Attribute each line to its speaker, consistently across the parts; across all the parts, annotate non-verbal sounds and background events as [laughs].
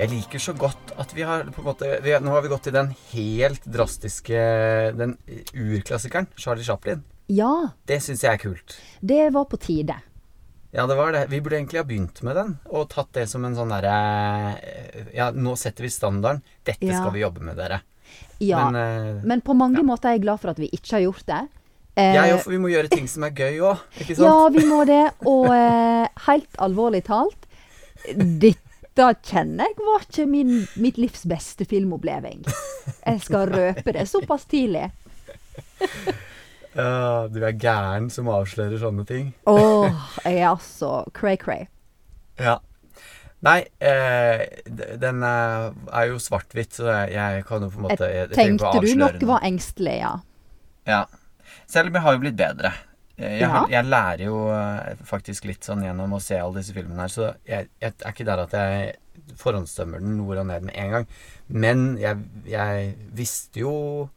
Speaker 1: Jeg liker så godt at vi har på en måte, vi, Nå har vi gått til den helt drastiske Den urklassikeren, Charlie Chaplin.
Speaker 2: Ja,
Speaker 1: Det syns jeg er kult.
Speaker 2: det var på tide.
Speaker 1: Ja, det var det. Vi burde egentlig ha begynt med den, og tatt det som en sånn derre eh, Ja, nå setter vi standarden. Dette
Speaker 2: Ja.
Speaker 1: skal vi jobbe med, dere.
Speaker 2: Ja, men,
Speaker 1: Men eh,
Speaker 2: på mange måter er jeg glad for at vi ikke har gjort det. Eh,
Speaker 1: ja, jo, for vi må gjøre ting som er gøy òg, ikke sant?
Speaker 2: Ja, vi må det. Og eh, helt alvorlig talt, dette kjenner jeg var ikke min, mitt livs beste filmoppleving. Jeg skal røpe det såpass tidlig.
Speaker 1: Ja, du er gæren som avslører sånne ting.
Speaker 2: Åh, jeg er altså cray-cray.
Speaker 1: Ja. Nei, eh, d- den eh, er jo svart-hvitt, så jeg- jeg kan jo på en måte jeg, jeg trenger ikke å
Speaker 2: Eh, Tenkte du
Speaker 1: avsløre
Speaker 2: noe var engstelig, ja.
Speaker 1: Ja. Selv om jeg har jo blitt bedre. Eh, Jeg, har,
Speaker 2: Ja.
Speaker 1: jeg lærer jo eh, faktisk litt sånn gjennom å se alle disse filmene her, så jeg, jeg er ikke der at jeg forhåndsdømmer den nord og ned med en gang. Men jeg, jeg visste jo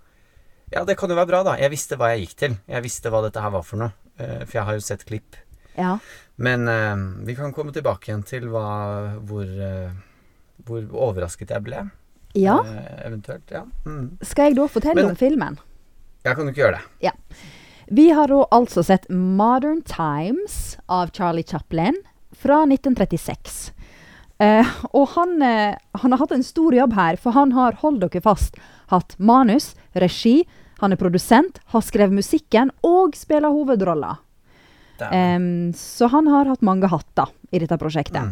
Speaker 1: Ja, det kan jo være bra, da. Jeg visste hva jeg gikk til. Jeg visste hva dette her var for noe. eh, For jeg har jo sett klipp.
Speaker 2: ja.
Speaker 1: Men eh, vi kan komme tilbake igjen til hva, hvor, eh, hvor overrasket jeg ble.
Speaker 2: Ja,
Speaker 1: eh, eventuelt. Ja. Mm.
Speaker 2: skal jeg da fortelle
Speaker 1: Men-
Speaker 2: om filmen?
Speaker 1: Jeg kan jo ikke gjøre det.
Speaker 2: Vi har da altså sett Modern Times av Charlie Chaplin fra 1936. Eh, og han, eh, han har hatt en stor jobb her, for han har, hold dere fast, hatt manus, regi, han er produsent, har skrevet musikken og spiller hovedrolla.
Speaker 1: det er,
Speaker 2: Em, så han har hatt mange hatter i dette
Speaker 1: Mm.
Speaker 2: prosjektet.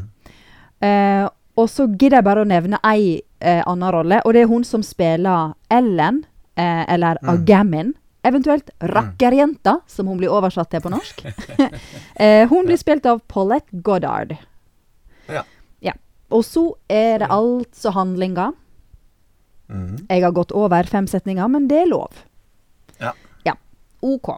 Speaker 2: Eh, og så gidder jeg bare å nevne ei eh, anna rolle, og det er hun som spiller Ellen, eh, eller Agamin. Eventuelt Rakkerjenta, som hun blir oversatt til på norsk. [laughs] eh, hun blir spilt av Paulette Goddard.
Speaker 1: Ja.
Speaker 2: Ja. Og så er det altså handlinga.
Speaker 1: Mhm.
Speaker 2: Jeg har gått over fem setninger, men det er lov.
Speaker 1: Ja.
Speaker 2: Ja, ok.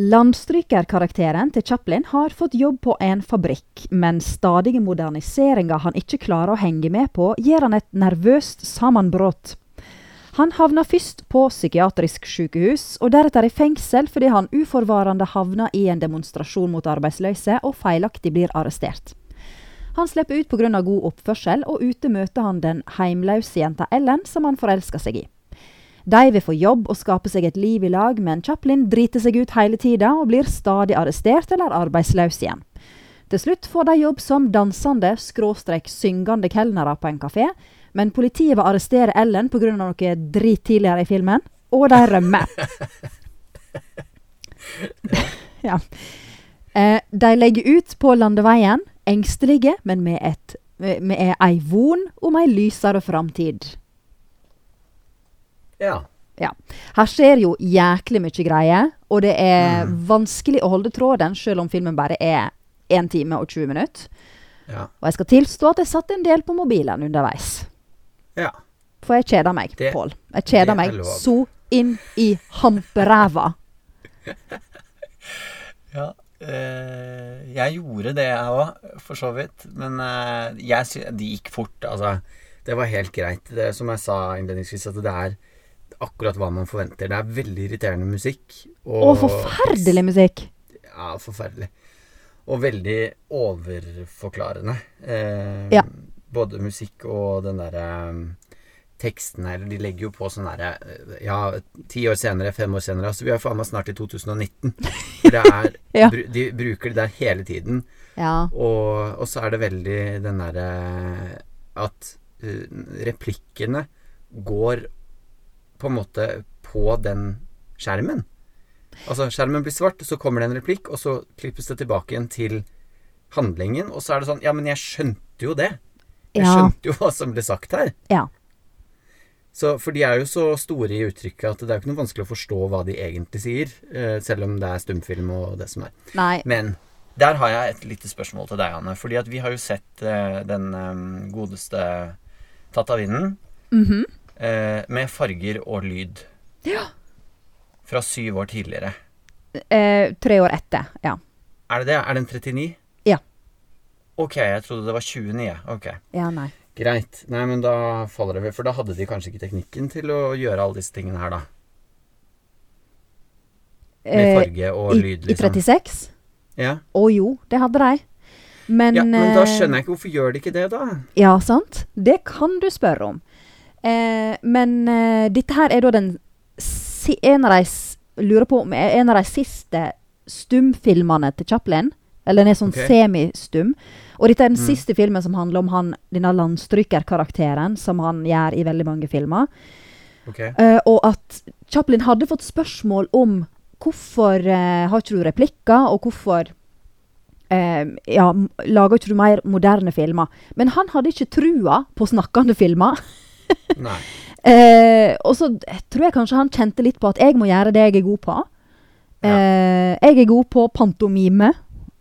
Speaker 2: Landstrykerkarakteren til Chaplin har fått jobb på en fabrikk, men stadige moderniseringer han ikke klarer å henge med på, gir han et nervøst sammenbrudd. Han havna først på psykiatrisk sykehus, og deretter i fengsel fordi han uforvarende havna i en demonstrasjon mot arbeidsløse og feilaktig blir arrestert. Han slipper ut pga. god oppførsel, og ute møter han den heimløse jenta Ellen, som han forelsker seg i. De vil få jobb og skape seg et liv i lag, men Chaplin driter seg ut hele tida og blir stadig arrestert eller arbeidsløs igjen. Til slutt får de jobb som dansende, skråstrek syngende kelnere på en kafé, men politiet vil arrestere Ellen pga. noe drit tidligere i filmen, og de rømmer. ja. Eh, de legger ut på landeveien, engstelige, men med, et, med med ei von om ei lysere framtid.
Speaker 1: ja.
Speaker 2: Ja. Her skjer jo jæklig mye greier, og det er
Speaker 1: Mm.
Speaker 2: vanskelig å holde tråden selv om filmen bare er 1 time og 20 minutter.
Speaker 1: Ja.
Speaker 2: Og jeg skal tilstå at jeg satt en del på mobilen underveis.
Speaker 1: ja.
Speaker 2: For jeg kjeder meg,
Speaker 1: Det-
Speaker 2: Pål. Jeg kjeder
Speaker 1: det
Speaker 2: meg
Speaker 1: er lov.
Speaker 2: så inn i hamperæva.
Speaker 1: Ja, eh, jeg gjorde det jeg òg, for så vidt. Men eh, jeg sy det gikk fort, altså. Det var helt greit. Det, er som jeg sa innledningsvis, at det er akkurat hva man forventer. Det er veldig irriterende musikk.
Speaker 2: Å, forferdelig musikk!
Speaker 1: Ja, forferdelig. Og veldig overforklarende. Eh,
Speaker 2: Ja.
Speaker 1: Både musikk og den derre eh, tekstene, eller de legger jo på sånn derre eh, Ja, ti år senere, fem år senere Altså, vi er faen meg snart i 2019. For det er
Speaker 2: [laughs] Ja.
Speaker 1: bru, De bruker det der hele tiden.
Speaker 2: Ja.
Speaker 1: Og, og så er det veldig den derre At eh, replikkene går på en måte på den skjermen. Altså, skjermen blir svart, så kommer det en replikk, og så klippes det tilbake igjen til handlingen, og så er det sånn Ja, men jeg skjønte jo det. Jeg
Speaker 2: Ja.
Speaker 1: skjønte jo hva som ble sagt her.
Speaker 2: ja.
Speaker 1: Så, for de er jo så store i uttrykket at det er jo ikke noe vanskelig å forstå hva de egentlig sier, eh, selv om det er stumfilm og det som er.
Speaker 2: Nei.
Speaker 1: Men der har jeg et lite spørsmål til deg, Anne. Fordi at vi har jo sett eh, den eh, godeste Tatt av vinden
Speaker 2: Mhm.
Speaker 1: eh, med farger og lyd. Fra syv år tidligere.
Speaker 2: Eh, tre år etter. Ja.
Speaker 1: Er det det? Er den 39?
Speaker 2: Ja.
Speaker 1: Ok, jeg trodde det var 29. Ok.
Speaker 2: Ja, nei.
Speaker 1: Greit. Nei, men da faller det vel, for da hadde de kanskje ikke teknikken til å gjøre alle disse tingene her, da. Med
Speaker 2: Eh,
Speaker 1: farge og
Speaker 2: I,
Speaker 1: lyd,
Speaker 2: Eh, I
Speaker 1: liksom.
Speaker 2: 36?
Speaker 1: Ja.
Speaker 2: Å jo, det hadde de. Men,
Speaker 1: Ja, men da
Speaker 2: eh,
Speaker 1: skjønner jeg ikke hvorfor gjør de ikke det, da?
Speaker 2: Ja, sant? Det kan du spørre om. Eh, men eh, dette her er da den si en av de s- lurer på om er en av de siste stumfilmene til Chaplin. Eller den er sånn
Speaker 1: Ok.
Speaker 2: semistum. Og dette er den
Speaker 1: Mm.
Speaker 2: siste filmen som handler om han, denne landstrykerkarakteren som han gjør i veldig mange filmer.
Speaker 1: Ok.
Speaker 2: Eh, og at Chaplin hadde fått spørsmål om hvorfor eh, har ikke du replikker, og hvorfor eh, ja, m- lager ikke du mer moderne filmer. Men han hadde ikke trua på snakkende filmer. [laughs]
Speaker 1: Nei.
Speaker 2: Eh, og så d- tror jeg kanskje han kjente litt på at jeg må gjøre det jeg er god på.
Speaker 1: Ja.
Speaker 2: Eh, jeg er god på pantomime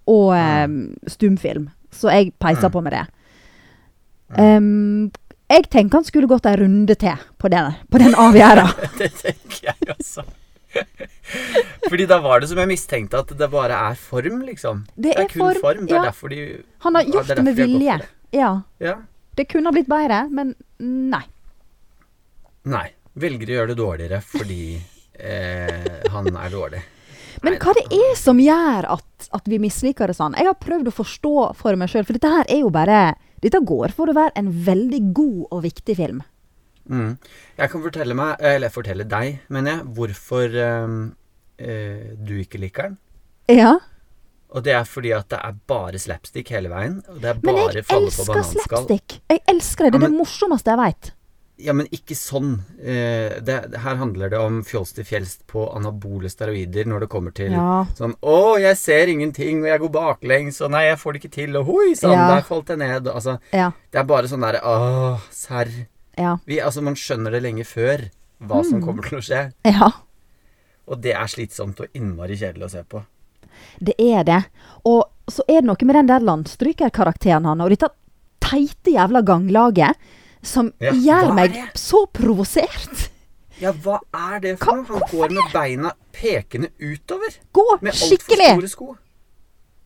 Speaker 2: og eh, stumfilm, så jeg peiser
Speaker 1: Mm.
Speaker 2: på med det. Em, jeg tenker han skulle gått en runde til på den, på den avgjørelsen.
Speaker 1: [laughs] Det tenker jeg også. Fordi da var det som jeg mistenkte, at det bare er form, liksom.
Speaker 2: Det er
Speaker 1: kun
Speaker 2: form,
Speaker 1: form. Det er
Speaker 2: ja.
Speaker 1: derfor de
Speaker 2: Han har
Speaker 1: Ja,
Speaker 2: gjort
Speaker 1: det er
Speaker 2: det med
Speaker 1: derfor jeg går
Speaker 2: vilje.
Speaker 1: for
Speaker 2: Ja,
Speaker 1: Ja.
Speaker 2: det kunne ha blitt bedre, men nei.
Speaker 1: Nei. Velger å gjøre det dårligere fordi eh, han er dårlig.
Speaker 2: Men
Speaker 1: Nei,
Speaker 2: hva det er som gjør at, at vi misliker det sånn? Jeg har prøvd å forstå for meg sjøl, for dette her er jo bare Dette går for å være en veldig god og viktig film.
Speaker 1: Mm. Jeg kan fortelle meg, eh, eller fortelle deg, mener jeg, hvorfor eh, eh, du ikke liker den.
Speaker 2: Ja,
Speaker 1: Og det er fordi at det er bare slapstick hele veien. Og det er
Speaker 2: men
Speaker 1: bare
Speaker 2: jeg
Speaker 1: falle på
Speaker 2: elsker
Speaker 1: bananskall.
Speaker 2: slapstick. Jeg elsker det. Det
Speaker 1: Ja,
Speaker 2: er det morsomste jeg veit.
Speaker 1: Ja, men ikke sånn. Eh, det, her handler det om fjols til fjells på anabole steroider når det kommer til
Speaker 2: Ja.
Speaker 1: sånn Å, jeg ser ingenting, og jeg går baklengs, og nei, jeg får det ikke til, og hoi sann,
Speaker 2: Ja.
Speaker 1: der falt jeg ned. og Altså,
Speaker 2: Ja.
Speaker 1: det er bare sånn derre Åh, serr.
Speaker 2: Ja.
Speaker 1: Vi- Altså, man skjønner det lenge før hva
Speaker 2: Mm.
Speaker 1: som kommer til å skje.
Speaker 2: ja.
Speaker 1: Og det er slitsomt og innmari kjedelig å se på.
Speaker 2: Det er det. Og så er det noe med den der landstrykerkarakteren han har, og dette teite jævla ganglaget, som
Speaker 1: Ja, hva
Speaker 2: gjør
Speaker 1: er
Speaker 2: meg
Speaker 1: det?
Speaker 2: så provosert.
Speaker 1: Ja, hva er det
Speaker 2: Hva-
Speaker 1: for noe? Han går med beina pekende utover.
Speaker 2: Gå
Speaker 1: Med altfor
Speaker 2: skikkelig!
Speaker 1: store sko.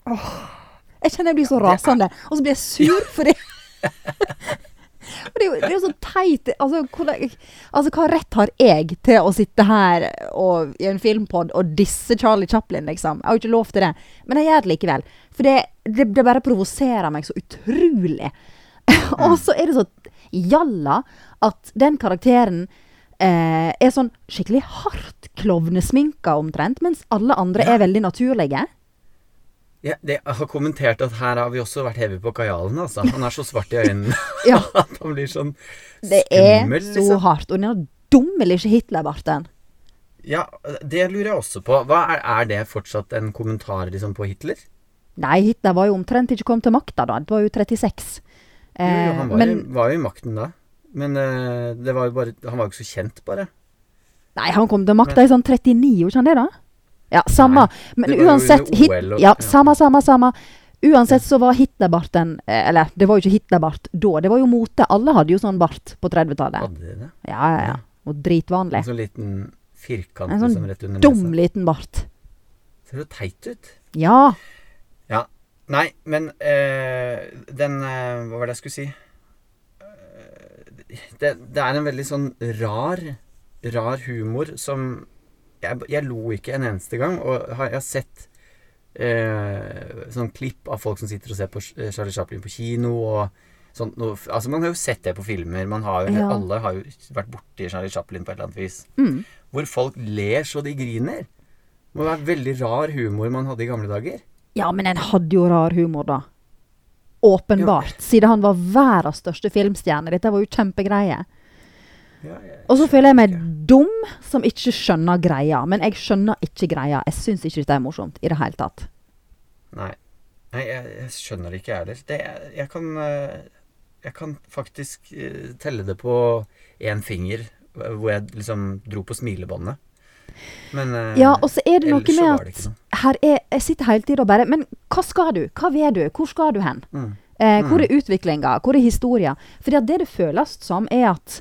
Speaker 2: Jeg kjenner jeg blir så
Speaker 1: det er-
Speaker 2: rasende. Og så blir jeg sur fordi [laughs] Og det er jo, det er jo så teit. Altså, hvordan, altså, hva rett har jeg til å sitte her og, i en filmpod og disse Charlie Chaplin, liksom? Jeg har jo ikke lov til det. Men jeg gjør det likevel. For det, det, det bare provoserer meg så utrolig. [laughs] og så er det så jalla at den karakteren eh, er sånn skikkelig hardt klovnesminka omtrent, mens alle andre er veldig naturlige.
Speaker 1: Ja, det, jeg har kommentert at her har vi også vært heavy på kajalen, altså. Han er så svart i øynene
Speaker 2: Ja.
Speaker 1: [laughs] at han blir sånn
Speaker 2: Det er
Speaker 1: skummel,
Speaker 2: så
Speaker 1: liksom.
Speaker 2: hardt. Og den dummelig ikke Hitler-barten.
Speaker 1: Ja, det lurer jeg også på. Hva er, er det fortsatt en kommentar liksom på Hitler?
Speaker 2: Nei, Hitler var jo omtrent ikke kommet til makta da. Det var jo 36.
Speaker 1: Jo, jo,
Speaker 2: Eh,
Speaker 1: han var,
Speaker 2: men
Speaker 1: i, var jo i makten da. Men eh, det var jo bare, han var jo ikke så kjent, bare.
Speaker 2: nei, han kom til makta i sånn 39, gjorde han det da? Ja, samme.
Speaker 1: Nei,
Speaker 2: Men
Speaker 1: det var jo
Speaker 2: uansett
Speaker 1: under
Speaker 2: hit,
Speaker 1: OL og-
Speaker 2: Ja,
Speaker 1: ja.
Speaker 2: samme, samme, samme. Uansett så var Hitler-barten eh, Eller, det var jo ikke Hitler-bart da. Det var jo mote. Alle hadde jo sånn bart på 30-tallet.
Speaker 1: Hadde de det?
Speaker 2: Ja, ja, ja. Og dritvanlig.
Speaker 1: En sånn liten firkant
Speaker 2: En sånn
Speaker 1: liksom, rett under
Speaker 2: Dum
Speaker 1: nesa.
Speaker 2: liten bart.
Speaker 1: Ser jo teit ut.
Speaker 2: Ja.
Speaker 1: Ja. Nei, men eh, den eh, Hva var det jeg skulle si? Eh, Det, det er en veldig sånn rar, rar humor som jeg, jeg lo ikke en eneste gang. Og har, jeg har sett eh, sånn klipp av folk som sitter og ser på Ch- Charlie Chaplin på kino. og sånt noe. Altså, Man har jo sett det på filmer. Man har jo,
Speaker 2: Ja.
Speaker 1: Alle har jo vært borti Charlie Chaplin på et eller annet vis.
Speaker 2: Mm.
Speaker 1: Hvor folk ler så de griner. Det må være veldig rar humor man hadde i gamle dager.
Speaker 2: Ja, men en hadde jo rar humor, da. Åpenbart. Siden han var verdens største filmstjerne. Dette var jo kjempegreie.
Speaker 1: Ja, jeg,
Speaker 2: Og så føler jeg meg dum som ikke skjønner greia. Men jeg skjønner ikke greia. Jeg syns ikke dette er morsomt i det hele tatt.
Speaker 1: Nei. Nei, jeg, jeg skjønner det ikke jeg heller. Det, jeg, jeg, kan, eh, jeg kan faktisk eh, telle det på én finger eh, hvor jeg liksom dro på smilebåndet. Men eh,
Speaker 2: Ja, og så er det noe
Speaker 1: ellers så
Speaker 2: med
Speaker 1: var
Speaker 2: at
Speaker 1: det ikke noe.
Speaker 2: her er, jeg sitter hele tiden og bare Men hva skal du? Hva vil du? Hvor skal du hen?
Speaker 1: mm,
Speaker 2: Eh, hvor er utviklinga? Hvor er historia? Fordi at det det føles som, er at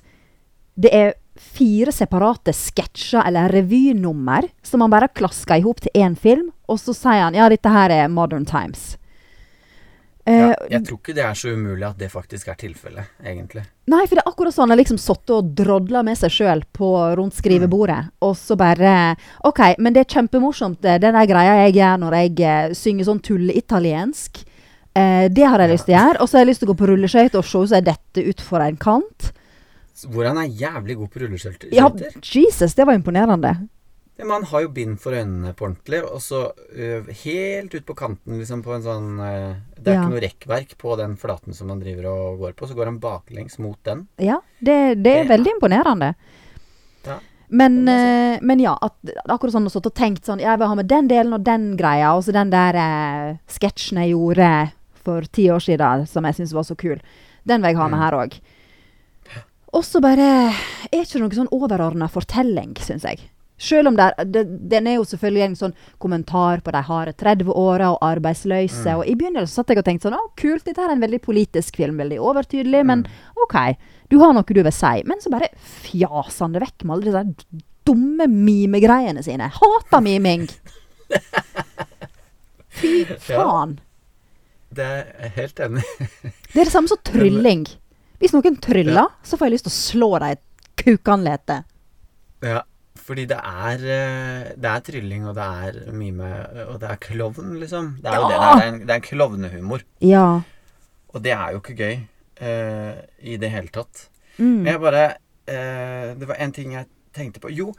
Speaker 2: det er fire separate sketsjer eller revynummer som man bare klasker i hop til én film, og så sier han ja, dette her er Modern Times. Eh,
Speaker 1: ja, jeg tror ikke det er så umulig at det faktisk er tilfellet, egentlig.
Speaker 2: Nei, for det er akkurat sånn han liksom satt og drodla med seg sjøl rundt skrivebordet, og så bare OK, men det er kjempemorsomt, det- den der greia jeg gjør når jeg eh, synger sånn tulleitaliensk. Eh, det har jeg lyst til å gjøre. Og så har jeg lyst til å gå på rulleskøyter og se hvordan jeg detter utfor en kant.
Speaker 1: Hvor han er jævlig god på rulleskøyter.
Speaker 2: Ja, Jesus, det var imponerende.
Speaker 1: Ja, men han har jo bind for øynene på ordentlig, og så ø, helt ut på kanten, liksom, på en sånn ø, Det er
Speaker 2: Ja.
Speaker 1: ikke noe rekkverk på den flaten som han driver og går på, så går han baklengs mot den.
Speaker 2: Ja, det, det er
Speaker 1: Det-
Speaker 2: veldig imponerende.
Speaker 1: Ja.
Speaker 2: Men,
Speaker 1: Det må
Speaker 2: eh, men ja, at, akkurat sånn å sitte og tenkt sånn Jeg vil ha med den delen og den greia, og så den der eh, sketsjen jeg gjorde for ti år siden som jeg syntes var så kul. Den vil jeg ha med
Speaker 1: Mm.
Speaker 2: her òg. Og så bare Er ikke det noen sånn overordna fortelling, syns jeg. Selv om det er det, Den er jo selvfølgelig en sånn kommentar på de harde 30-åra og arbeidsløse. Og i begynnelsen satt jeg og tenkte sånn Å, kult, dette her er en veldig politisk film. Veldig overtydelig. Men OK, du har noe du vil si. Men så bare fjaser han det vekk med alle disse her dumme mimegreiene sine. Jeg Hater miming! Fy faen.
Speaker 1: Det er jeg helt enig i.
Speaker 2: Det er det samme som trylling. Hvis noen tryller,
Speaker 1: Ja.
Speaker 2: så får jeg lyst til å slå dem i kukanletet.
Speaker 1: Ja, fordi det er eh, Det er trylling, og det er mime, og det er klovn, liksom. Det er jo
Speaker 2: Ja!
Speaker 1: det der. Det er en, det er en klovnehumor.
Speaker 2: Ja.
Speaker 1: Og det er jo ikke gøy eh, i det hele tatt.
Speaker 2: Mm.
Speaker 1: Men jeg bare eh, Det var en ting jeg tenkte på. Jo,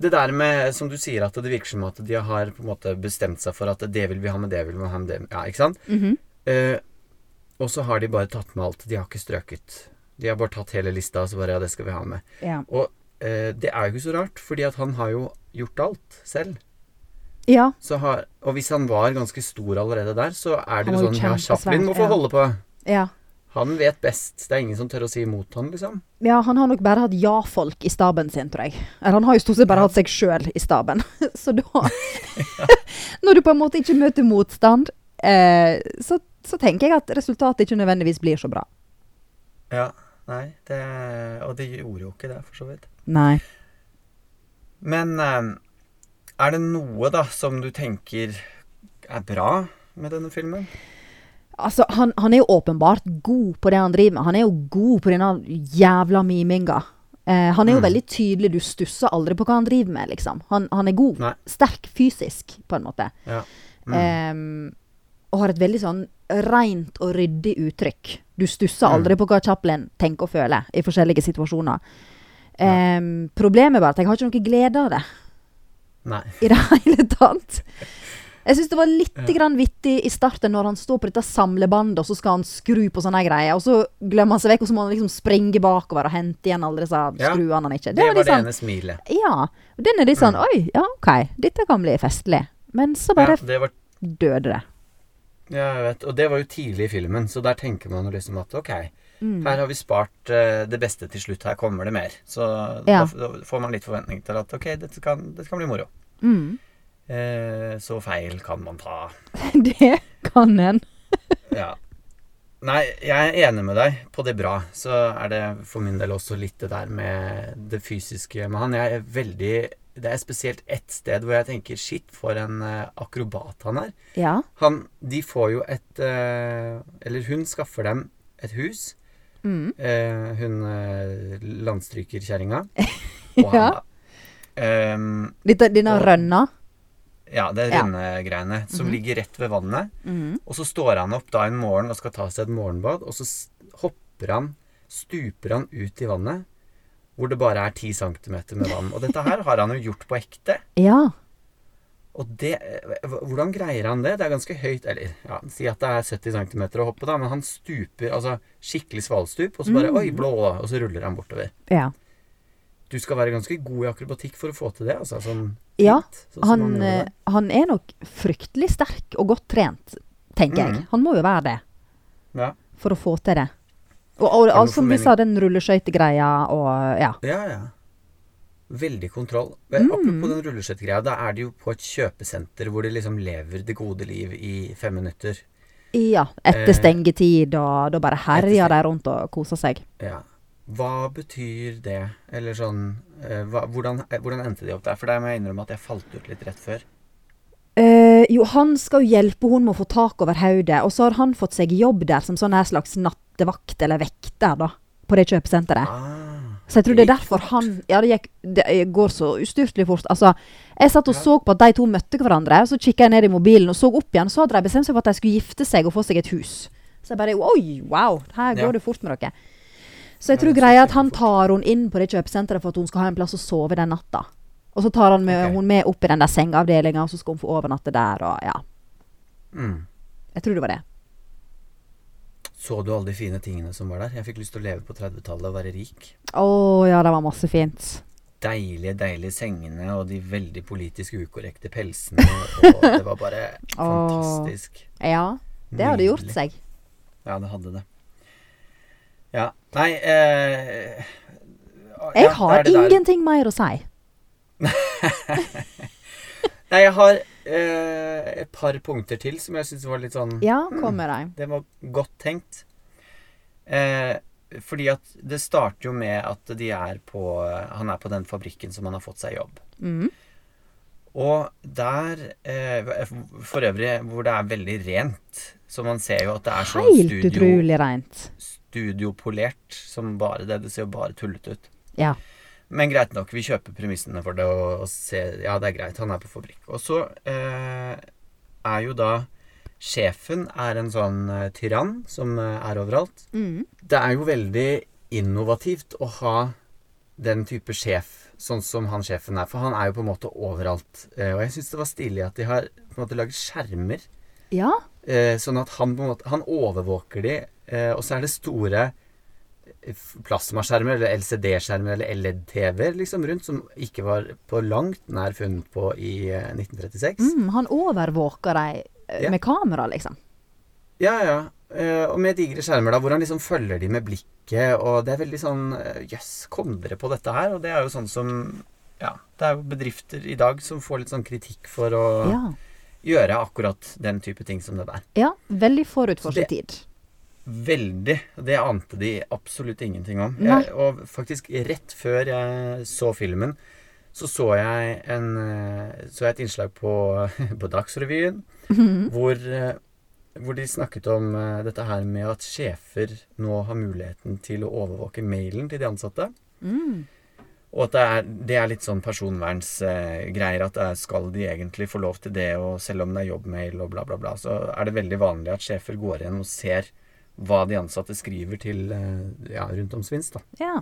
Speaker 1: det der med som du sier, at det virker som at de har på en måte bestemt seg for at det vil vi ha med det vil vi ha med det Ja, ikke sant?
Speaker 2: Mhm.
Speaker 1: Eh, og så har de bare tatt med alt. De har ikke strøket. De har bare tatt hele lista, og så bare Ja, det skal vi ha med.
Speaker 2: ja.
Speaker 1: Og eh, det er jo ikke så rart, fordi at han har jo gjort alt selv.
Speaker 2: ja.
Speaker 1: Så har, og hvis han var ganske stor allerede der, så er det
Speaker 2: Han
Speaker 1: jo
Speaker 2: var jo
Speaker 1: sånn Ja,
Speaker 2: kjempesvær,
Speaker 1: Chaplin må få
Speaker 2: ja.
Speaker 1: holde på.
Speaker 2: Ja.
Speaker 1: Han vet best. Det er ingen som tør å si imot han, liksom.
Speaker 2: Ja, han har nok bare hatt ja-folk i staben sin, tror jeg. Eller han har jo stort sett bare hatt seg sjøl i staben. [laughs] Så da [laughs] Når du på en måte ikke møter motstand, eh, så, så tenker jeg at resultatet ikke nødvendigvis blir så bra.
Speaker 1: Ja, nei, det, Og det gjorde jo ikke det, for så vidt.
Speaker 2: Nei.
Speaker 1: Men eh, er det noe, da, som du tenker er bra med denne filmen?
Speaker 2: Altså, han, han er jo åpenbart god på det han driver med. Han er jo god på denne jævla miminga. Eh, han er jo veldig tydelig. Du stusser aldri på hva han driver med, liksom. Han, han er god.
Speaker 1: Nei.
Speaker 2: Sterk fysisk, på en måte.
Speaker 1: Ja.
Speaker 2: Ehm, og har et veldig sånn rent og ryddig uttrykk. Du stusser aldri
Speaker 1: Mm.
Speaker 2: på hva Chaplin tenker og føler i forskjellige situasjoner. Ehm, problemet er bare at jeg har ikke noe glede av det
Speaker 1: Mm. Nei.
Speaker 2: i det [laughs] hele tatt. Jeg syns det var litt grann vittig i starten når han står på dette samlebandet, og så skal han skru på sånne greier, og så glemmer han seg vekk, og så må han liksom springe bakover og hente igjen alle disse
Speaker 1: Ja.
Speaker 2: skruene han ikke
Speaker 1: Det var
Speaker 2: litt
Speaker 1: det
Speaker 2: sånn-
Speaker 1: ene Mm. smilet.
Speaker 2: Ja. Og den er litt sånn Oi, ja, OK, dette kan bli festlig. Men så
Speaker 1: Ja,
Speaker 2: bare
Speaker 1: det var
Speaker 2: døde det.
Speaker 1: Ja, jeg vet. Og det var jo tidlig i filmen, så der tenker man jo liksom at ok, her har vi spart eh, det beste til slutt, her kommer det mer. Så
Speaker 2: Ja.
Speaker 1: da, da får man litt forventning til at ok, dette kan, dette kan bli moro.
Speaker 2: Mm.
Speaker 1: Eh, så feil kan man ta.
Speaker 2: [laughs] Det kan en.
Speaker 1: Ja. Nei, jeg er enig med deg på det bra. Så er det for min del også litt det der med det fysiske med han. Jeg er veldig Det er spesielt ett sted hvor jeg tenker shit, for en eh, akrobat han er.
Speaker 2: Ja.
Speaker 1: Han De får jo et eh, Eller hun skaffer dem et hus.
Speaker 2: Mm.
Speaker 1: Eh, hun eh,
Speaker 2: [laughs]
Speaker 1: landstrykerkjerringa. Og
Speaker 2: Ja.
Speaker 1: han, da. Um,
Speaker 2: Litt av denne
Speaker 1: Og-
Speaker 2: rønna.
Speaker 1: ja, det
Speaker 2: Ja. Mhm.
Speaker 1: rennegreiene som ligger rett ved vannet.
Speaker 2: Mm.
Speaker 1: Og så står han opp da en morgen og skal ta seg et morgenbad, og så s- hopper han, stuper han ut i vannet, hvor det bare er 10 cm med vann. Og dette her har han jo gjort på ekte.
Speaker 2: Ja.
Speaker 1: Og det, eh, hvordan greier han det? Det er ganske høyt, eller ja, si at det er 70 cm å hoppe, da, men han stuper, altså skikkelig svalstup, og så bare
Speaker 2: Mm.
Speaker 1: oi, blå, og så ruller han bortover.
Speaker 2: ja.
Speaker 1: Du skal være ganske god i akrobatikk for å få til det, altså. Sånn,
Speaker 2: Ja,
Speaker 1: fint, sånn som han
Speaker 2: Han,
Speaker 1: gjorde
Speaker 2: eh,
Speaker 1: det.
Speaker 2: han er nok fryktelig sterk og godt trent, tenker jeg.
Speaker 1: Mm.
Speaker 2: Han må jo være det
Speaker 1: ja.
Speaker 2: for å få til det. Og, og,
Speaker 1: jo
Speaker 2: og som vi
Speaker 1: formening.
Speaker 2: sa, den rulleskøytegreia og ja.
Speaker 1: ja, ja. Veldig kontroll. Men
Speaker 2: Mm.
Speaker 1: Apropos den rulleskøytegreia, da er de jo på et kjøpesenter hvor de liksom lever det gode liv i fem minutter.
Speaker 2: Ja, etter
Speaker 1: Eh,
Speaker 2: stengetid, og da bare
Speaker 1: etter
Speaker 2: herjer
Speaker 1: steng-
Speaker 2: de rundt og koser seg.
Speaker 1: Ja. Hva betyr det? Eller sånn eh, hva, hvordan, eh, hvordan endte de opp der? For der må jeg innrømme at jeg falt ut litt rett før.
Speaker 2: Eh, jo, han skal jo hjelpe hun med å få tak over hodet, og så har han fått seg jobb der som sånn her slags nattevakt eller vekter, da, på det kjøpesenteret.
Speaker 1: Ah,
Speaker 2: Så jeg tror det er derfor han Ja, det, gikk, det går så ustyrtelig fort. Altså, jeg satt og så på at de to møtte hverandre, så kikka jeg ned i mobilen og så opp igjen, så hadde de bestemt seg for at de skulle gifte seg og få seg et hus. Så jeg bare Oi, wow! Her
Speaker 1: Ja.
Speaker 2: går det fort med dere. Så jeg tror greia er at han tar hun inn på det kjøpesenteret for at hun skal ha en plass å sove den natta. Og så tar han med,
Speaker 1: Ok.
Speaker 2: hun med opp i den der sengeavdelinga, og så skal hun få overnatte der, og ja.
Speaker 1: Mm.
Speaker 2: Jeg tror det var det.
Speaker 1: Så du alle de fine tingene som var der? Jeg fikk lyst til å leve på 30-tallet og være rik.
Speaker 2: Å ja, det var masse fint.
Speaker 1: Deilige, deilige sengene og de veldig politisk ukorrekte pelsene.
Speaker 2: [laughs]
Speaker 1: Og det var bare fantastisk.
Speaker 2: Ja. Det hadde gjort
Speaker 1: Nydelig.
Speaker 2: seg.
Speaker 1: Ja, det hadde det. Ja. Nei eh,
Speaker 2: Jeg
Speaker 1: ja, det er
Speaker 2: har
Speaker 1: det der.
Speaker 2: ingenting mer å si.
Speaker 1: Nei, jeg har eh, et par punkter til som jeg syns var litt sånn
Speaker 2: Ja, kom med deg.
Speaker 1: Det var godt tenkt. Eh, fordi at det starter jo med at de er på Han er på den fabrikken som han har fått seg jobb.
Speaker 2: Mm.
Speaker 1: Og der eh, For øvrig hvor det er veldig rent. Så man ser jo at det er sånn
Speaker 2: Helt
Speaker 1: studio,
Speaker 2: utrolig rent.
Speaker 1: studiopolert som bare det. Det ser jo bare tullete ut.
Speaker 2: Ja.
Speaker 1: Men greit nok, vi kjøper premissene for det og, og ser Ja, det er greit, han er på fabrikk. Og så eh, er jo da Sjefen er en sånn eh, tyrann som eh, er overalt.
Speaker 2: Mm.
Speaker 1: Det er jo veldig innovativt å ha den type sjef, sånn som han sjefen er. For han er jo på en måte overalt. Eh, og jeg syns det var stilig at de har på en måte laget skjermer,
Speaker 2: Ja.
Speaker 1: eh, sånn at han på en måte Han overvåker de, eh, og så er det store eh, f- plasmaskjermer, eller LCD-skjermer, eller LED-TV-er liksom rundt, som ikke var på langt nær funnet på i eh, 1936.
Speaker 2: Mm, han overvåker deg eh,
Speaker 1: Ja.
Speaker 2: med kamera, liksom.
Speaker 1: Ja, ja. Eh, og med digre skjermer, da, hvor han liksom følger de med blikket, og det er veldig sånn eh, Jøss, kom dere på dette her? Og det er jo sånn som Ja, det er jo bedrifter i dag som får litt sånn kritikk for å
Speaker 2: Ja.
Speaker 1: gjøre akkurat den type ting som det der.
Speaker 2: ja. Veldig forut for
Speaker 1: Så det-
Speaker 2: sin tid.
Speaker 1: Veldig. Det ante de absolutt ingenting om.
Speaker 2: Nei.
Speaker 1: Jeg, og faktisk rett før jeg så filmen, så så jeg, en, eh, så jeg et innslag på, [laughs] på Dagsrevyen hvor, eh, hvor de snakket om eh, dette her med at sjefer nå har muligheten til å overvåke mailen til de ansatte.
Speaker 2: [laughs] Mm.
Speaker 1: Og at det er, det er litt sånn personvernsgreier. At det er, skal de egentlig få lov til det, og selv om det er jobbmail og bla, bla, bla, så er det veldig vanlig at sjefer går igjen og ser hva de ansatte skriver til eh, ja, rundt om Svins. da.
Speaker 2: Ja.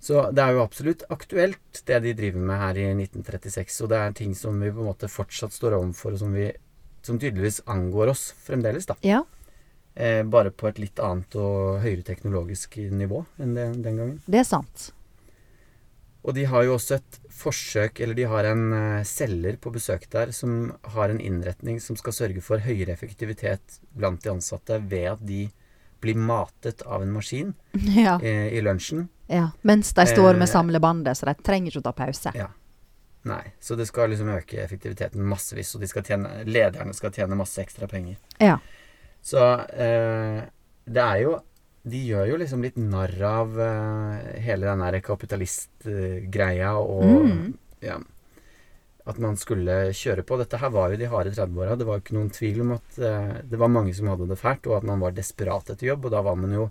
Speaker 1: Så det er jo absolutt aktuelt, det de driver med her i 1936. Og det er ting som vi på en måte fortsatt står overfor, og som, vi, som tydeligvis angår oss fremdeles. da.
Speaker 2: ja.
Speaker 1: Eh, bare på et litt annet og høyere teknologisk nivå enn det, den gangen.
Speaker 2: Det er sant. [laughs]
Speaker 1: Og de har jo også et forsøk, eller de har en eh, selger på besøk der som har en innretning som skal sørge for høyere effektivitet blant de ansatte ved at de blir matet av en maskin
Speaker 2: Ja.
Speaker 1: eh, i lunsjen.
Speaker 2: ja. Mens de står med
Speaker 1: Eh.
Speaker 2: samlebandet, så de trenger ikke å ta pause.
Speaker 1: Ja. Nei, så det skal liksom øke effektiviteten massevis, og de skal tjene, lederne skal tjene masse ekstra penger.
Speaker 2: Ja.
Speaker 1: Så eh, det er jo De gjør jo liksom litt narr av eh, hele den der kapitalistgreia og
Speaker 2: Mm.
Speaker 1: ja, At man skulle kjøre på. Dette her var jo de harde 30-åra. Det var jo ikke noen tvil om at eh, det var mange som hadde det fælt, og at man var desperat etter jobb. Og da var man jo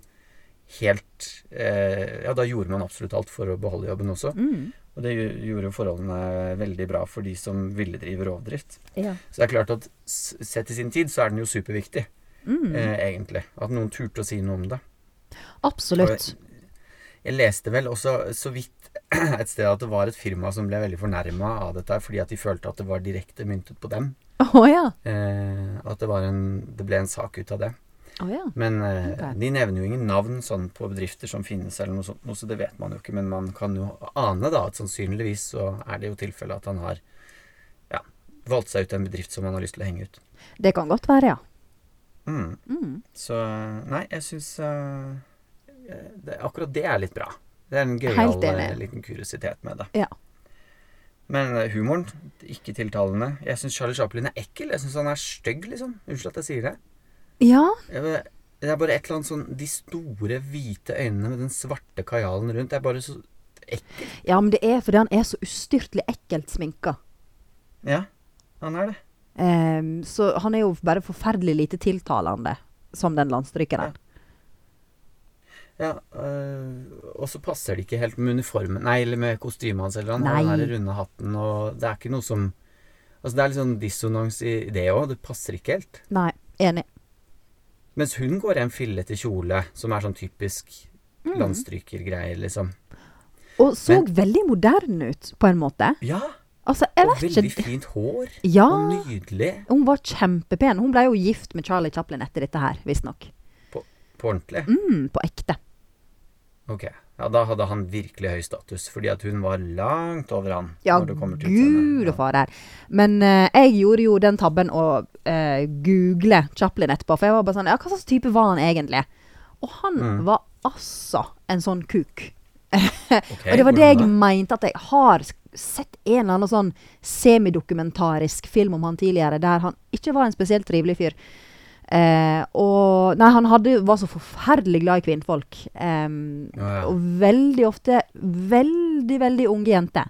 Speaker 1: helt eh, Ja, da gjorde man absolutt alt for å beholde jobben også.
Speaker 2: Mm.
Speaker 1: Og det gj- gjorde jo forholdene veldig bra for de som ville drive rovdrift.
Speaker 2: Ja.
Speaker 1: Så det er klart at s- sett i sin tid så er den jo superviktig
Speaker 2: Mm.
Speaker 1: eh, egentlig. At noen turte å si noe om det.
Speaker 2: Absolutt.
Speaker 1: Jeg leste vel også så vidt [clears throat] et sted at det var et firma som ble veldig fornærma av dette her, fordi at de følte at det var direkte myntet på dem.
Speaker 2: Å ja.
Speaker 1: Eh, at det, var en, det ble en sak ut av det.
Speaker 2: Å ja.
Speaker 1: Men eh,
Speaker 2: Ok.
Speaker 1: de nevner jo ingen navn sånn på bedrifter som finnes, eller noe sånt, noe, så det vet man jo ikke. Men man kan jo ane da at sannsynligvis så er det jo tilfellet at han har ja, valgt seg ut en bedrift som han har lyst til å henge ut.
Speaker 2: Det kan godt være, ja.
Speaker 1: Mm.
Speaker 2: Mm.
Speaker 1: Så nei, jeg syns det, akkurat det er litt bra. Det er en
Speaker 2: Helt
Speaker 1: gøyal
Speaker 2: enig.
Speaker 1: eh, liten kuriositet med det.
Speaker 2: Ja.
Speaker 1: Men eh, humoren, ikke tiltalende. Jeg syns Charlie Chaplin er ekkel. Jeg syns han er stygg, liksom. Unnskyld at jeg sier det.
Speaker 2: Ja.
Speaker 1: Jeg bare- Det er bare et eller annet sånn De store, hvite øynene med den svarte kajalen rundt. Det er bare så ekkelt.
Speaker 2: ja, men det er fordi han er så ustyrtelig ekkelt sminka.
Speaker 1: Ja, han er det.
Speaker 2: Ehm, så han er jo bare forferdelig lite tiltalende som den landstrykeren.
Speaker 1: Ja, øh, og så passer det ikke helt med uniformen Nei, eller med kostymet hans. Eller han har
Speaker 2: Nei.
Speaker 1: den der runde hatten, og det er ikke noe som Altså, det er litt sånn dissonans i det òg. Det passer ikke helt.
Speaker 2: Nei, enig.
Speaker 1: Mens hun går i en fillete kjole, som er sånn typisk
Speaker 2: Mm.
Speaker 1: landstrykergreie, liksom.
Speaker 2: Og så
Speaker 1: Men-
Speaker 2: veldig moderne ut, på en måte.
Speaker 1: Ja!
Speaker 2: Altså, jeg
Speaker 1: Og
Speaker 2: vet
Speaker 1: veldig
Speaker 2: ikke
Speaker 1: fint hår.
Speaker 2: Ja.
Speaker 1: Og nydelig.
Speaker 2: Hun var kjempepen. Hun ble jo gift med Charlie Chaplin etter dette her, visstnok.
Speaker 1: På, på ordentlig.
Speaker 2: Mm, på ekte.
Speaker 1: Ok. Ja, da hadde han virkelig høy status, fordi at hun var langt over han.
Speaker 2: Ja,
Speaker 1: når det kommer til utseendet.
Speaker 2: gud og far her. Men eh, jeg gjorde jo den tabben å eh, google Chaplin etterpå, for jeg var bare sånn Ja, hva slags type var han egentlig? Og han
Speaker 1: Mm.
Speaker 2: var altså en sånn kuk.
Speaker 1: Ok,
Speaker 2: og det var det jeg
Speaker 1: hvordan
Speaker 2: mente at jeg har s- sett en eller annen sånn semidokumentarisk film om han tidligere, der han ikke var en spesielt trivelig fyr. Eh, og Nei, han hadde, var så forferdelig glad i kvinnfolk. em,
Speaker 1: Ja, ja.
Speaker 2: Og veldig ofte veldig, veldig unge jenter.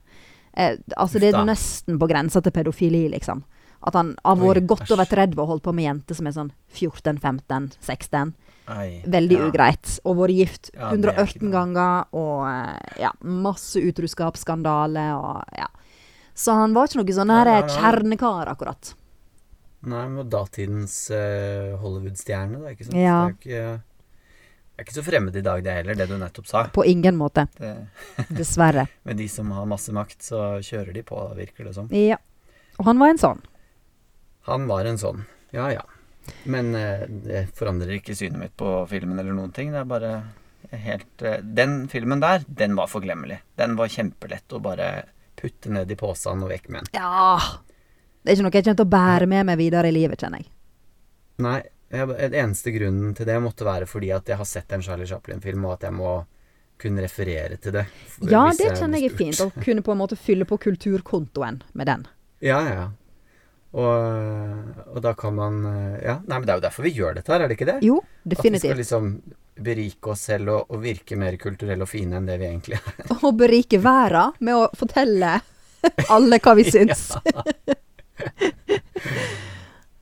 Speaker 2: Eh, altså, det er
Speaker 1: Uff da.
Speaker 2: nesten på grensa til pedofili, liksom. At han har
Speaker 1: Oi,
Speaker 2: vært godt
Speaker 1: æsj.
Speaker 2: over 30 og holdt på med jenter som er sånn 14-15-16
Speaker 1: Nei,
Speaker 2: veldig
Speaker 1: ja.
Speaker 2: ugreit. Og vært gift
Speaker 1: Ja, det er ikke
Speaker 2: 118
Speaker 1: noe.
Speaker 2: ganger, og eh, ja, masse utroskapsskandale og ja. Så han var ikke noe sånn her
Speaker 1: Ja,
Speaker 2: eh,
Speaker 1: ja, ja.
Speaker 2: kjernekar, akkurat.
Speaker 1: Nei, men datidens eh, Hollywood-stjerne, da. Ikke sant?
Speaker 2: Ja.
Speaker 1: Det, er jo ikke, det er ikke så fremmed i dag, det heller, det du nettopp sa.
Speaker 2: På ingen måte,
Speaker 1: Det,
Speaker 2: dessverre.
Speaker 1: [laughs] med de som har masse makt, så kjører de på, virker det som.
Speaker 2: Ja. Og han var en sånn.
Speaker 1: Han var en sånn. Ja, ja. Men eh, det forandrer ikke synet mitt på filmen eller noen ting. Det er bare helt eh, Den filmen der, den var forglemmelig. Den var kjempelett å bare putte ned i posen og vekk med den.
Speaker 2: Ja. Det er ikke noe jeg kommer til å bære med meg videre i livet, kjenner jeg.
Speaker 1: Nei, jeg, den eneste grunnen til det måtte være fordi at jeg har sett en Charlie Chaplin-film, og at jeg må kunne referere til det. f-
Speaker 2: Ja,
Speaker 1: hvis
Speaker 2: det
Speaker 1: blir
Speaker 2: kjenner jeg er
Speaker 1: spurt.
Speaker 2: fint. Å kunne på en måte fylle på kulturkontoen med den.
Speaker 1: Ja, ja, ja. Og, og da kan man eh, Ja, nei, men det er jo derfor vi gjør dette her, er det ikke det?
Speaker 2: Jo,
Speaker 1: At vi
Speaker 2: definitivt.
Speaker 1: skal liksom berike oss selv og, og virke mer kulturelle og fine enn det vi egentlig er.
Speaker 2: Å berike verden med å fortelle alle
Speaker 1: [laughs]
Speaker 2: hva vi syns. [laughs]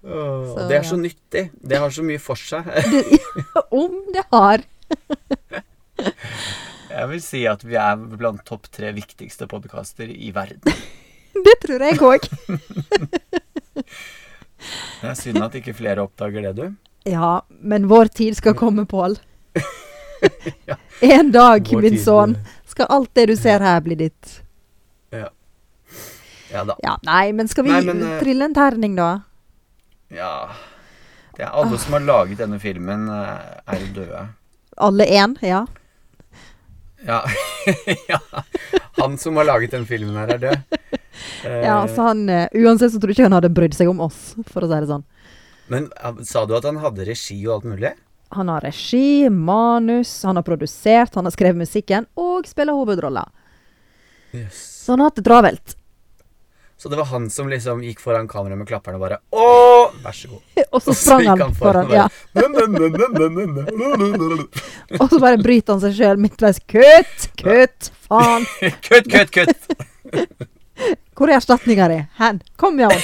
Speaker 1: Åh,
Speaker 2: Så,
Speaker 1: og det er så
Speaker 2: ja.
Speaker 1: nyttig. Det har så mye for
Speaker 2: [laughs]
Speaker 1: seg.
Speaker 2: Om det har
Speaker 1: Jeg vil si at vi er blant topp tre viktigste podkaster i verden.
Speaker 2: Det tror jeg òg.
Speaker 1: Det er synd at ikke flere oppdager det, du.
Speaker 2: Ja, men vår tid skal komme,
Speaker 1: [laughs]
Speaker 2: Pål. En dag,
Speaker 1: Vår
Speaker 2: min
Speaker 1: tid,
Speaker 2: sønn, skal alt det du ser her, bli ditt.
Speaker 1: Ja, ja da.
Speaker 2: Ja, nei, men skal vi
Speaker 1: Nei, men, eh,
Speaker 2: trille en terning, da?
Speaker 1: Ja. Det er alle som har laget denne filmen, eh, er jo døde.
Speaker 2: Alle én? Ja.
Speaker 1: Ja. [laughs] ja. Han som har laget den filmen her, er død. Eh,
Speaker 2: [laughs] ja så han, eh, uansett så tror jeg ikke han hadde brydd seg om oss, for å si det sånn.
Speaker 1: Men eh, sa du at han hadde regi og alt mulig?
Speaker 2: Han har regi, manus, han har produsert, han har skrevet musikken, og spiller hovedrolla.
Speaker 1: Yes.
Speaker 2: Så han har hatt det
Speaker 1: [laughs]
Speaker 2: travelt.
Speaker 1: Så det var han som liksom gikk foran kameraet med klapperne og bare Å, vær så god.
Speaker 2: Og så sprang han foran, ja.
Speaker 1: ja.
Speaker 2: Og så bare bryter han seg sjøl midtveis. Kutt! Kutt! Faen!
Speaker 1: Kutt, kutt, kutt!
Speaker 2: Hvor er erstatninga di? Hen? Kom [laughs] igjen!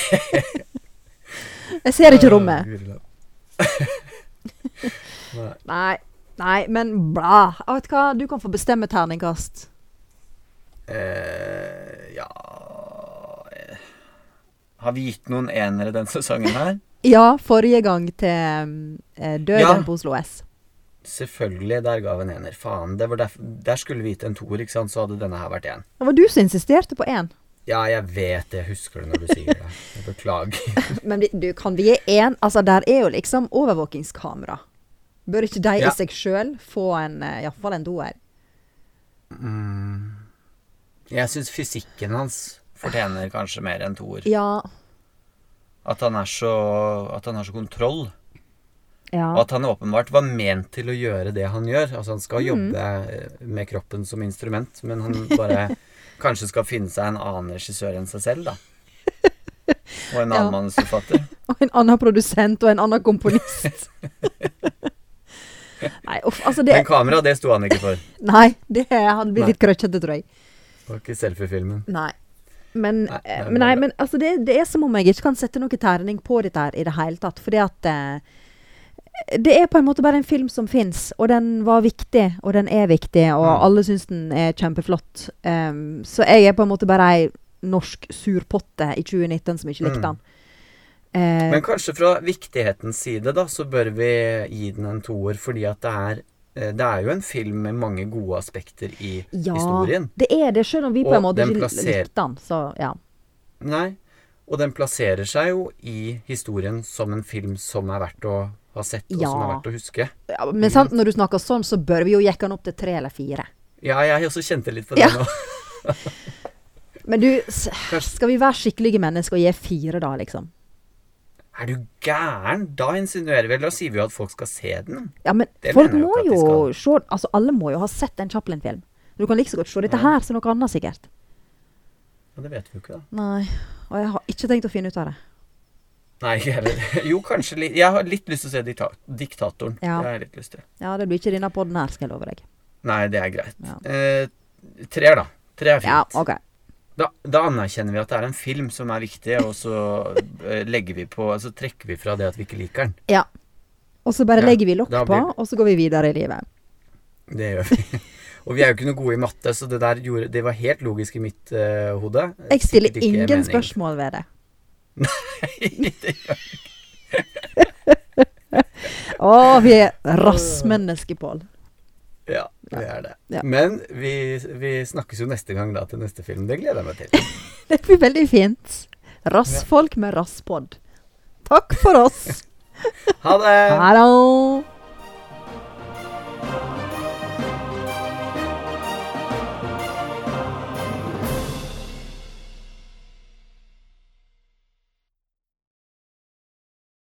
Speaker 2: Jeg ser ikke rommet.
Speaker 1: Nei.
Speaker 2: Eh, Nei, nei, men bla. Jeg Vet hva, du kan få bestemme terningkast.
Speaker 1: Eh, ja eh. Har vi gitt noen enere den sesongen her?
Speaker 2: Ja, forrige gang til mm, eh, Døden
Speaker 1: Ja.
Speaker 2: på Oslo S.
Speaker 1: Selvfølgelig, der ga vi en ener. Faen, det var derf- der skulle vi gitt en toer, ikke sant? Så hadde denne her vært en.
Speaker 2: Det var du som insisterte på én.
Speaker 1: Ja, jeg vet det. Jeg husker det når du sier det. Jeg beklager.
Speaker 2: [laughs] Men vi- du, kan vi gi én? Altså, der er jo liksom overvåkingskamera. Bør ikke de
Speaker 1: Ja.
Speaker 2: i seg sjøl få en, eh, i hvert fall en doer? Mm.
Speaker 1: Jeg syns fysikken hans fortjener kanskje mer enn toer.
Speaker 2: Ja.
Speaker 1: At han, er så, at han har så kontroll. Og
Speaker 2: Ja.
Speaker 1: at han åpenbart var ment til å gjøre det han gjør. Altså Han
Speaker 2: Mm.
Speaker 1: skal jobbe eh, med kroppen som instrument, men han bare
Speaker 2: [laughs]
Speaker 1: kanskje skal finne seg en annen regissør enn seg selv, da. Og en annen
Speaker 2: Ja.
Speaker 1: manusforfatter.
Speaker 2: [laughs] Og en annen produsent og en annen
Speaker 1: [laughs]
Speaker 2: komponist. nei, uff, altså det
Speaker 1: Men kamera, det sto han ikke for.
Speaker 2: Nei, det han blir
Speaker 1: Nei.
Speaker 2: litt krøkkete, tror jeg.
Speaker 1: Det var ikke selfiefilmen.
Speaker 2: Nei. Men,
Speaker 1: Nei,
Speaker 2: eh,
Speaker 1: nei,
Speaker 2: men,
Speaker 1: det
Speaker 2: nei,
Speaker 1: er bra.
Speaker 2: men altså det, det er som om jeg ikke kan sette noe terning på dette her i det hele tatt. Fordi at eh, det er på en måte bare en film som fins, og den var viktig, og den er viktig, og
Speaker 1: Mm.
Speaker 2: alle syns den er kjempeflott. Ehm, så jeg er på en måte bare ei norsk surpotte i 2019 som ikke likte
Speaker 1: Mm.
Speaker 2: den. Eh,
Speaker 1: Men kanskje fra viktighetens side, da, så bør vi gi den en toer, fordi at det er eh, det er jo en film med mange gode aspekter i
Speaker 2: ja,
Speaker 1: historien.
Speaker 2: det er det, selv om vi på
Speaker 1: Og
Speaker 2: en måte
Speaker 1: den
Speaker 2: ikke
Speaker 1: plasser-
Speaker 2: likte den. Så ja.
Speaker 1: Nei. Og den plasserer seg jo i historien som en film som er verdt å ha sett, og som er
Speaker 2: Ja.
Speaker 1: verdt å huske.
Speaker 2: ja men
Speaker 1: Mm.
Speaker 2: sant, når du snakker sånn, så bør vi jo jekke den opp til tre eller fire.
Speaker 1: Ja, jeg også kjente litt på det
Speaker 2: Ja.
Speaker 1: nå. [laughs]
Speaker 2: Men du, s- skal vi være skikkelige mennesker og gi fire, da, liksom?
Speaker 1: Er du gæren? Da insinuerer vi, eller da sier vi jo at folk skal se den.
Speaker 2: Ja, men
Speaker 1: Det
Speaker 2: folk
Speaker 1: mener jeg
Speaker 2: må
Speaker 1: ikke
Speaker 2: jo
Speaker 1: at de
Speaker 2: se Altså, alle må jo ha sett en Chaplin-film. Du kan like så godt se dette her som noe annet, sikkert.
Speaker 1: Ja, det vet vi jo ikke, da.
Speaker 2: Nei. Og jeg har ikke tenkt å finne ut av det.
Speaker 1: Nei, [laughs] ikke heller. Jo, kanskje litt. Jeg har litt lyst til å se dikta Diktatoren.
Speaker 2: Ja.
Speaker 1: Det har jeg litt lyst til.
Speaker 2: Ja, det blir ikke denne podden her, skal jeg love deg.
Speaker 1: Nei, det er greit.
Speaker 2: Ja.
Speaker 1: Eh, treer, da. Tre er fint.
Speaker 2: Ja, OK.
Speaker 1: da, da anerkjenner vi at det er en film som er viktig, og så eh, legger vi på Så trekker vi fra det at vi ikke liker den.
Speaker 2: Ja. Og så bare
Speaker 1: Ja,
Speaker 2: legger vi lokk
Speaker 1: da
Speaker 2: på,
Speaker 1: blir-
Speaker 2: og så går vi videre i livet.
Speaker 1: Det gjør vi. [laughs] Og vi er jo ikke noe gode i matte, så det der gjorde, det var helt logisk i mitt eh, hode.
Speaker 2: Jeg stiller
Speaker 1: Sikkert ikke
Speaker 2: ingen
Speaker 1: mening.
Speaker 2: spørsmål ved det.
Speaker 1: Det gjør-
Speaker 2: Å, vi er rassmennesker, Pål.
Speaker 1: [laughs] ja, det er det.
Speaker 2: Ja.
Speaker 1: Men vi, vi snakkes jo neste gang da til neste film. Det gleder jeg meg til.
Speaker 2: Det blir veldig fint. Rassfolk med rasspod. Takk for oss.
Speaker 1: Ha det!
Speaker 2: [laughs] Ha det.